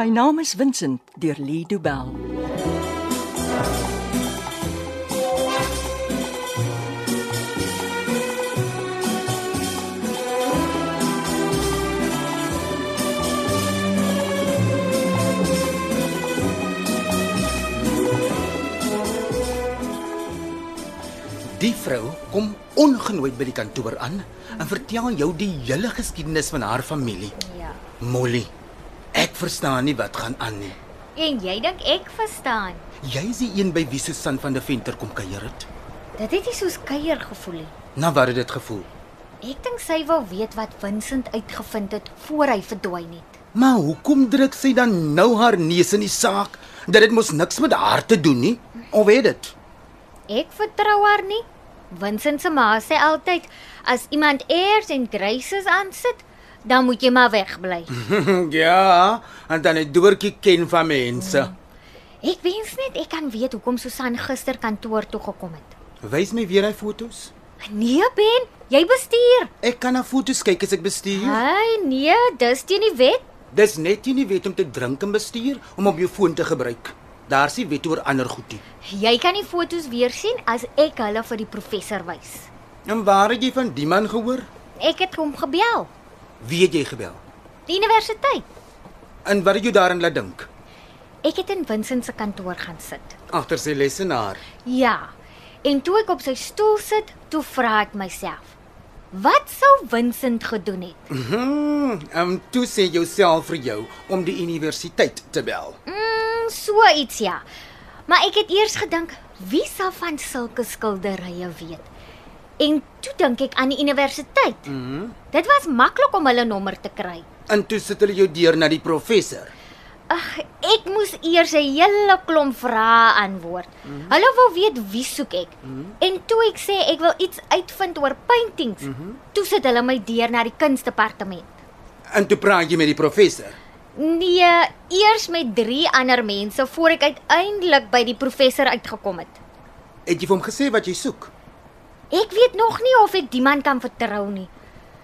My naam is Vincent deur Lee Du Bell. Die vrou kom ongenooi by die kantoor aan en vertel jou die hele geskiedenis van haar familie. Ja. Molly, ek verstaan nie wat gaan aan nie. En jy dink ek verstaan. Jy is die een by wie Susan van der Venter kom kuier het. Dit het nie soos kuier gevoel nie. Na wat het dit gevoel? Ek dink sy wou weet wat Vincent uitgevind het voor hy verdwyn het. Maar hoekom druk sy dan nou haar neus in die saak dat dit mos niks met haar te doen nie? Of weet dit? Ek vertrou haar nie. Vincent se ma sê altyd as iemand eers en graces aansit, dan moet jy maar wegbly. ja, en dan het doortjie ken van mense. Ek wens net ek kan weet hoekom Susan gister kantoor toe gekom het. Wys my weer hy fotos. Nee, Ben, jy bestuur. Ek kan na fotos kyk as ek bestuur. Ai nee, dis teen die wet. Dis net nie die wet om te drink en bestuur om op jou foon te gebruik. Daar's nie wet oor ander goedie. Jy kan die fotos weer sien as ek hulle vir die professor wys. En waar het jy van die man gehoor? Ek het hom gebel. Wie het jy gebel? Die universiteit. En wat het jou daarin laat dink? Ek het in Vincent se kantoor gaan sit. Agter sy lesenaar. Ja. En toe ek op sy stoel sit, toe vra ek myself: Wat sou Vincent gedoen het? Mhm. Ehm toe sê jouself vir jou om die universiteit te bel. Mm, so iets ja. Maar ek het eers gedink, wie sal van sulke skilderye weet? En toe dink ek aan die universiteit. Mhm. Dit was maklik om hulle nommer te kry. En toe sit hulle jou deur na die professor. Ag, ek moes eers 'n hele klomp vrae antwoord. Mm -hmm. Hulle wou weet wie soek ek. Mm -hmm. En toe ek sê ek wil iets uitvind oor paintings, mm -hmm. toe sit hulle my deur na die kunsdepartement. En toe praat jy met die professor. Nee, eers met drie ander mense voor ek uiteindelik by die professor uitgekom het. Het jy vir hom gesê wat jy soek? Ek weet nog nie of ek die man kan vertrou nie.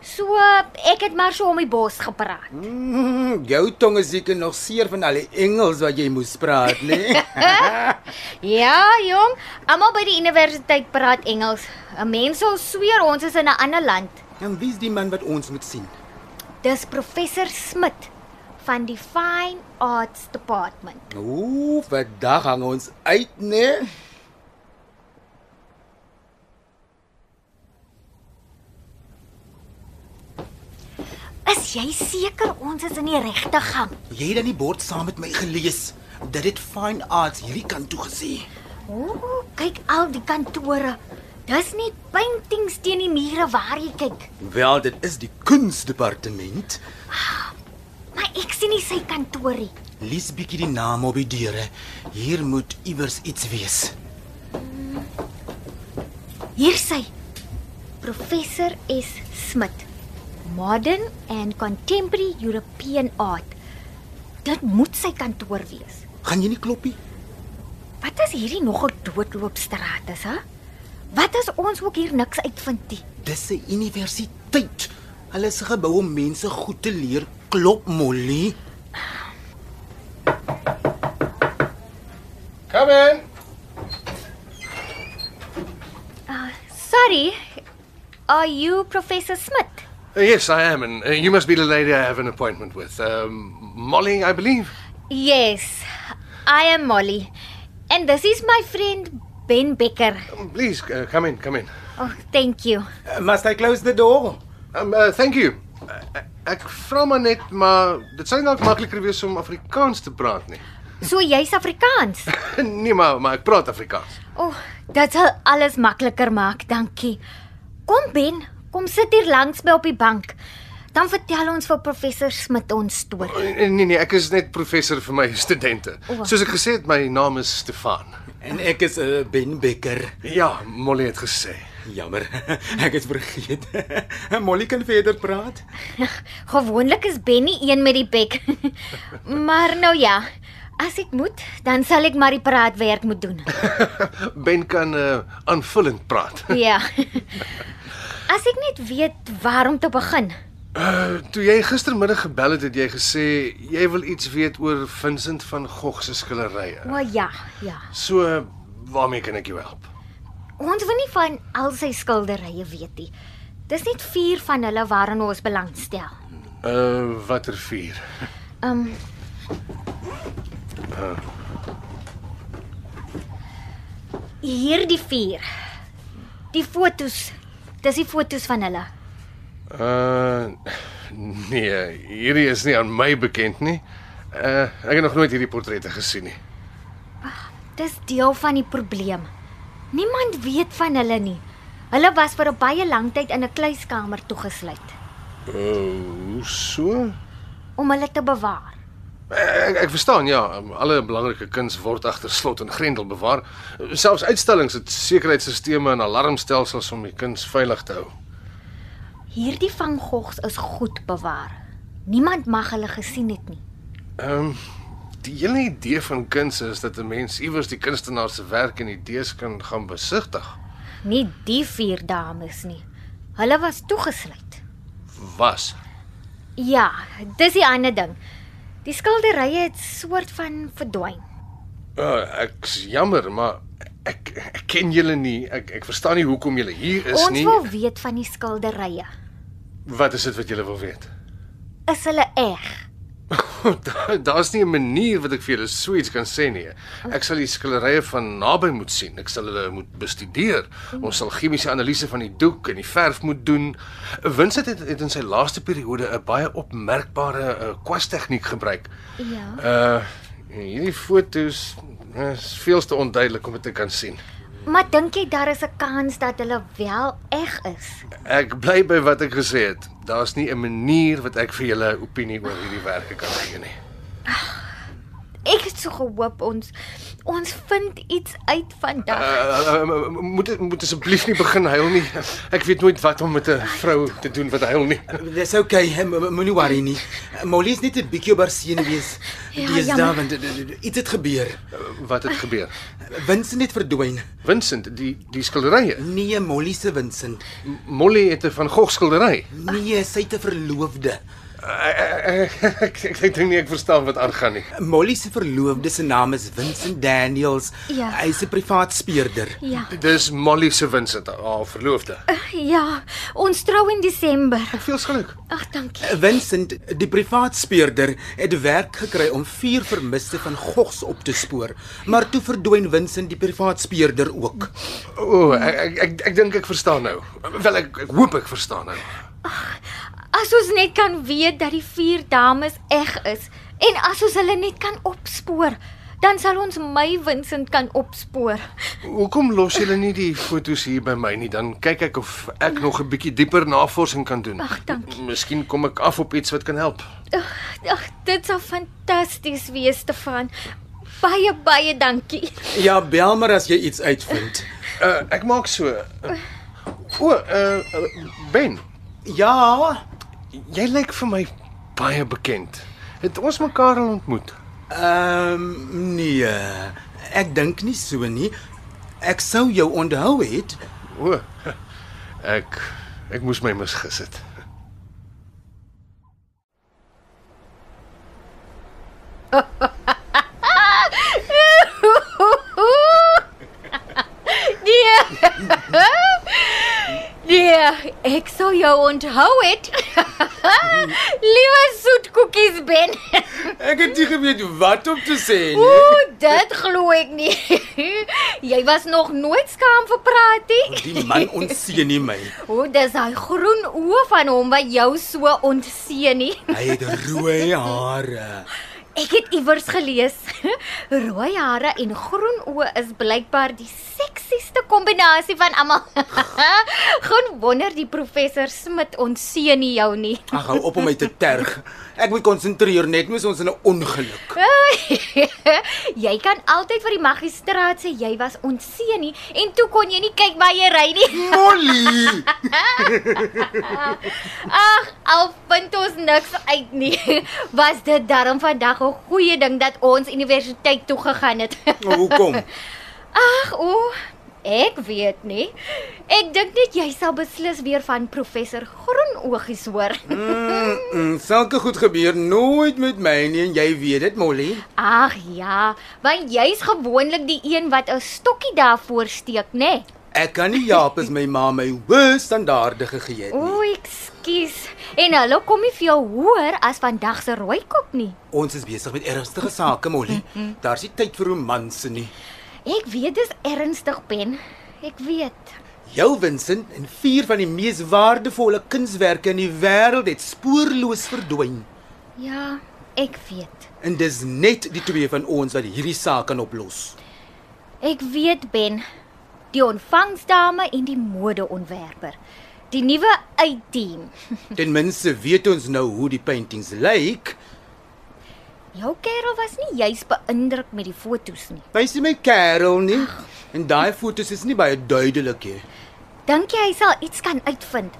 So ek het maar so om die bos gepraat. Mm, jou tong is seker nog seer van al die Engels wat jy moes praat, nee? né? Ja, jong, almal by die universiteit praat Engels. 'n Mens sou sweer ons is in 'n ander land. en wie's die man wat ons moet sien? Dis professor Smit van die Fine Arts Department. Ooh, Nou, vandag hang ons uit, né? Is jy seker ons is in die regte gang? Jy het dan die bord saam met my gelees. Dit het fine arts hierdie kant toe gesê. Ooh, kyk al die kantore. Dis net paintings teen die mure waar jy kyk. Wel, dit is die kunstdepartement. Maar ek sien nie sy kantoorie. Lees bietjie die name op die deure. Hier moet iewers iets wees. Hier sy. Professor S. Smit. Modern and Contemporary European Art. Dit moet sy kantoor wees. Gaan jy nie kloppie? Wat is hierdie nog 'n doodloopstraat is, hè? Wat as ons ook hier niks uitvind nie? Dis 'n universiteit. Hulle is gebou om mense goed te leer klop, Molly. Kom in. Sorry. Are you Professor Smith? Uh, yes, I am, and uh, you must be the lady I have an appointment with. Um, Molly, I believe. Yes. I am Molly. And this is my friend Ben Becker. Um, please uh, come in, come in. Oh, thank you. Uh, must I close the door? Um, uh, thank you. Uh, ek vra maar net maar dit sou nie dalk makliker wees om Afrikaans te praat nie. So jy's Afrikaans. nee, maar maar ek praat Afrikaans. O, oh, dit sal alles makliker maak, dankie. Kom Ben, kom sit hier langs my op die bank. Dan vertel ons vir professor Smit ons storie. Uh, nee nee, ek is net professor vir my studente. O. Soos ek gesê het, my naam is Stefan. En ek is 'n uh, Ben Becker. Ja, Molly het gesê. Jammer, ek het vergeet. Molly kan verder praat. Gewoonlik is Ben nie een met die bek. maar nou ja, as ek moet, dan sal ek maar die praatwerk moet doen. Ben kan uh, aanvullend praat. Ja. As ek net weet waar om te begin. Uh, toe jy gistermiddag gebel het, het jy gesê jy wil iets weet oor Vincent van Gogh se skilderye. Maar ja, ja. So eh, waarmee kan ek jou help? Ons wil nie van al sy skilderye weet nie. Dis net vier van hulle waaraan ons belangstel. Uh watter vuur? Um Hierdie vier. Die fotos. Dis die fotos van hulle. Uh nee, hierdie is nie aan my bekend nie. Uh ek het nog nooit hierdie portrette gesien nie. Dis deel van die probleem. Niemand weet van hulle nie. Hulle was vir 'n baie lang tyd in 'n kluiskamer toegesluit Ooh, Oh, so? om hulle te bewaar. Ek, ek verstaan ja, alle belangrike kuns word agter slot en grendel bewaar. Selfs uitstallings het sekuriteitsstelsels en alarmstelsels om die kuns veilig te hou. Hierdie van Gogs is goed bewaar. Niemand mag hulle gesien het nie. Ehm um, die hele idee van kuns is dat 'n mens iewers die kunstenaar se werk en idees kan gaan besigtig. Nie die vier dames nie. Hulle was toegesluit. Was. Ja, dis die ander ding. Die skilderye het soort van verdwyn. Uh, ek's jammer, maar ek, ek ken julle nie. Ek ek verstaan nie hoekom julle hier is Ons nie. wil weet van die skilderye. Wat is dit wat julle wil weet? Is hulle reg? Daar daar's nie 'n manier wat ek vir julle so iets kan sê nie. Ek sal die skilderye van naby moet sien. Ek sal hulle moet bestudeer. Ons sal chemiese analise van die doek en die verf moet doen. Vincent het, het in sy laaste periode 'n baie opmerkbare uh, kwastegniek gebruik. Ja. Uh hierdie fotos is veel te onduidelik om dit te kan sien. Maar dink jy daar is 'n kans dat hulle wel reg is? Ek bly by wat ek gesê het. Daar's nie 'n manier wat ek vir julle 'n opinie oor hierdie werke kan gee nie. Ek het so gehoop ons ons vind iets uit vandag. Uh, uh, moet moet asseblief nie begin huil nie. Ek weet nooit wat om met 'n vrou te doen wat huil nie. Dis okay, eh, mo- mo- moenie worry nie. Molly is net 'n bietjie oorseën wees. Ja, Dis daar jammer. want eh, eh, iets het gebeur. Wat het gebeur? Vincent het verdwyn. Vincent, die die skilderye. Nee, Molly se Vincent. M- Molly het 'n van Gogh skildery. Uh, Nee, sy het 'n verloofde. Ek ek, ek, ek dink nie ek verstaan wat aangaan nie. Molly se verloofde se naam is Vincent Daniels. Ja. Hy's 'n privaat speurder. Ja. Dis Molly se Vincent, haar verloofde. Ja, ons trou in Desember. Veel geluk. Ag, dankie. Vincent, die privaat speurder, het werk gekry om vier vermiste van Gogs op te spoor, maar toe verdwyn Vincent die privaat speurder ook. O, ek ek ek, ek dink ek verstaan nou. Wel ek, ek hoop ek verstaan nou. As ons net kan weet dat die vier dames reg is en as ons hulle net kan opspoor, dan sal ons my Vincent kan opspoor. Hoekom los julle nie die fotos hier by my nie? Dan kyk ek of ek nog 'n bietjie dieper navorsing kan doen. Ag, dankie. M- Miskien kom ek af op iets wat kan help. Ag, ag, dit sou fantasties wees, Stefan. Baie baie dankie. Ja, bel maar as jy iets uitvind. Uh, ek maak so. Uh, o, uh, uh Ben, Ja, jy lyk vir my baie bekend. Het ons mekaar al ontmoet? ehm um, nee, ek dink nie so nie. Ek sou jou onthou het. O. Ek ek moes my misgis het. Nee. Nee, ek sou jou onthou het. Liewe soetkoekies Ben. Ek het nie geweet wat om te sê Ooh, dit glo ek nie. Jy was nog nooit skaam vir praat nie. Die man onseën nie my. Ooh, dis daai groen oë van hom wat jou so ontseën nie. Hy het rooi hare. Ek het iewers gelees, rooi hare en groen oë is blykbaar die seksieste kombinasie van almal. Geen wonder die professor Smit ons seën nie jou nie. Ag, hou op om my te terg. Ek moet konsentreer net moes ons in 'n ongeluk. jy kan altyd vir die magistraat sê jy was ons seën nie en toe kon jy nie kyk waar jy ry nie. Molly, Ag, al vind ons niks uit nie. Was dit darm vandag 'n goeie ding dat ons universiteit toe gegaan het? hoekom? Ag, o, Ek weet nie. Ek dink net jy sal beslis weer van professor Gronoogies hoor. Mm, Sulke goed gebeur nooit met my nie en jy weet dit, Molly. Ag ja, want jy's gewoonlik die een wat 'n stokkie daarvoor steek, né? Nee? Ek kan nie jaap as my ma my hoë standaarde gegee het nie. O, ekskuus. En hulle kom nie vir jou hoor as vandag se rooikop nie. Ons is besig met ernstige sake, Molly. Daar's nie tyd vir romanse nie. Ek weet dis ernstig, Ben. Ek weet. Jou Vincent en vier van die mees waardevolle kunswerke in die wêreld het spoorloos verdwyn. Ja, ek weet. En dis net die twee van ons wat hierdie saak kan oplos. Ek weet Ben, die ontvangsdame en die modeontwerper. Die nuwe uitteam. Ten minste weet ons nou hoe die paintings lyk. Jou kerel was nie juis beïndruk met die fotos nie. Wys jy my Karel nie? En daai fotos is nie baie duidelik nie. Dink jy hy sal iets kan uitvind?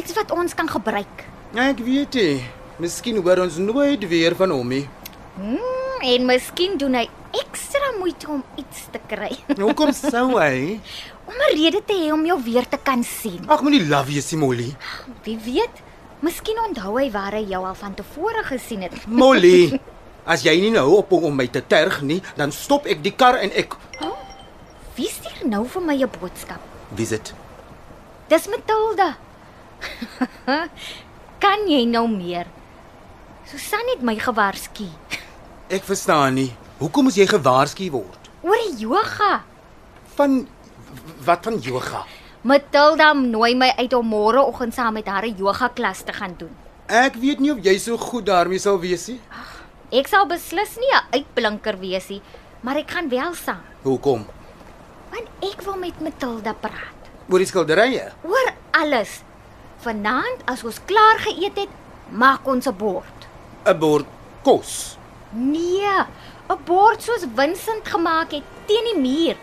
Iets wat ons kan gebruik? Ek weet nie. Miskien hoor ons nooit weer van hom nie. Hmm, en miskien doen hy ekstra moeite om iets te kry. Hoekom sou hy? om 'n rede te hê om jou weer te kan sien. Ag moenie laf wees, nie, Molly. Wie weet? Miskien onthou hy waar hy jou al van tevore gesien het. Molly, as jy nie nou op hom om my te terg nie, dan stop ek die kar en ek Wie stuur nou vir my 'n boodskap? Wie's dit? Dis Matilda. kan jy nou meer? Susan het my gewaarsku Ek verstaan nie. Hoekom moes jy gewaarsku word? oor die yoga. Van wat van yoga? Matilda nooi my uit om môreoggend saam met haar 'n yoga klas te gaan doen. Ek weet nie of jy so goed daarmee sal wees nie. Ek sal beslis nie 'n uitblinker wees nie, maar ek gaan wel saam, Hoekom? want ek wil met Matilda praat Oor die skilderye. oor alles. Vanaand as ons klaar geëet het, maak ons 'n bord. 'n Bord kos. Nee, 'n bord soos Vincent gemaak het teen die muur.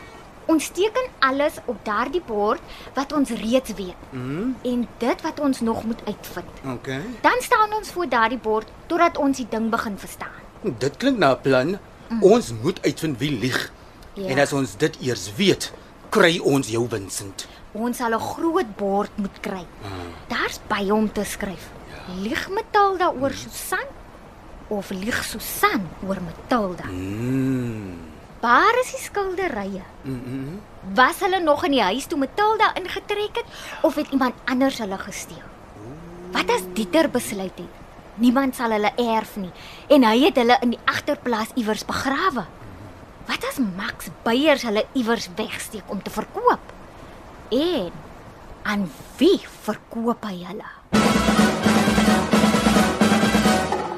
Ons teken alles op daardie bord wat ons reeds weet Mm, en dit wat ons nog moet uitvind. okay. Dan staan ons voor daardie bord totdat ons die ding begin verstaan. Dit klink na 'n plan. Ons moet uitvind wie lieg. Ja. En as ons dit eers weet, kry ons jou Vincent. Ons sal 'n groot bord moet kry. Daar's baie om te skryf. Lieg Matilda oor Susan of lieg Susan oor Matilda? Mm. Waar is die skilderye? Mm -mm. Was hulle nog in die huis toe Matilda ingetrek het of het iemand anders hulle gesteel? Wat as Dieter besluit het? Niemand sal hulle erf nie en hy het hulle in die agterplaas iewers begrawe. Wat as Max Beyers hulle iewers wegsteek om te verkoop? En aan wie verkoop hy hulle?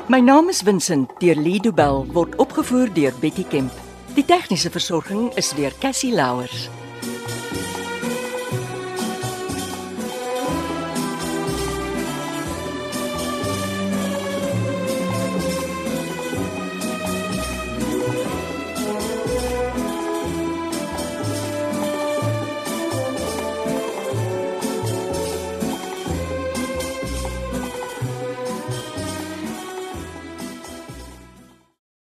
My naam is Vincent deur Lido Bell word opgevoer deur Betty Kemp. Die tegniese versorging is deur Cassie Louers.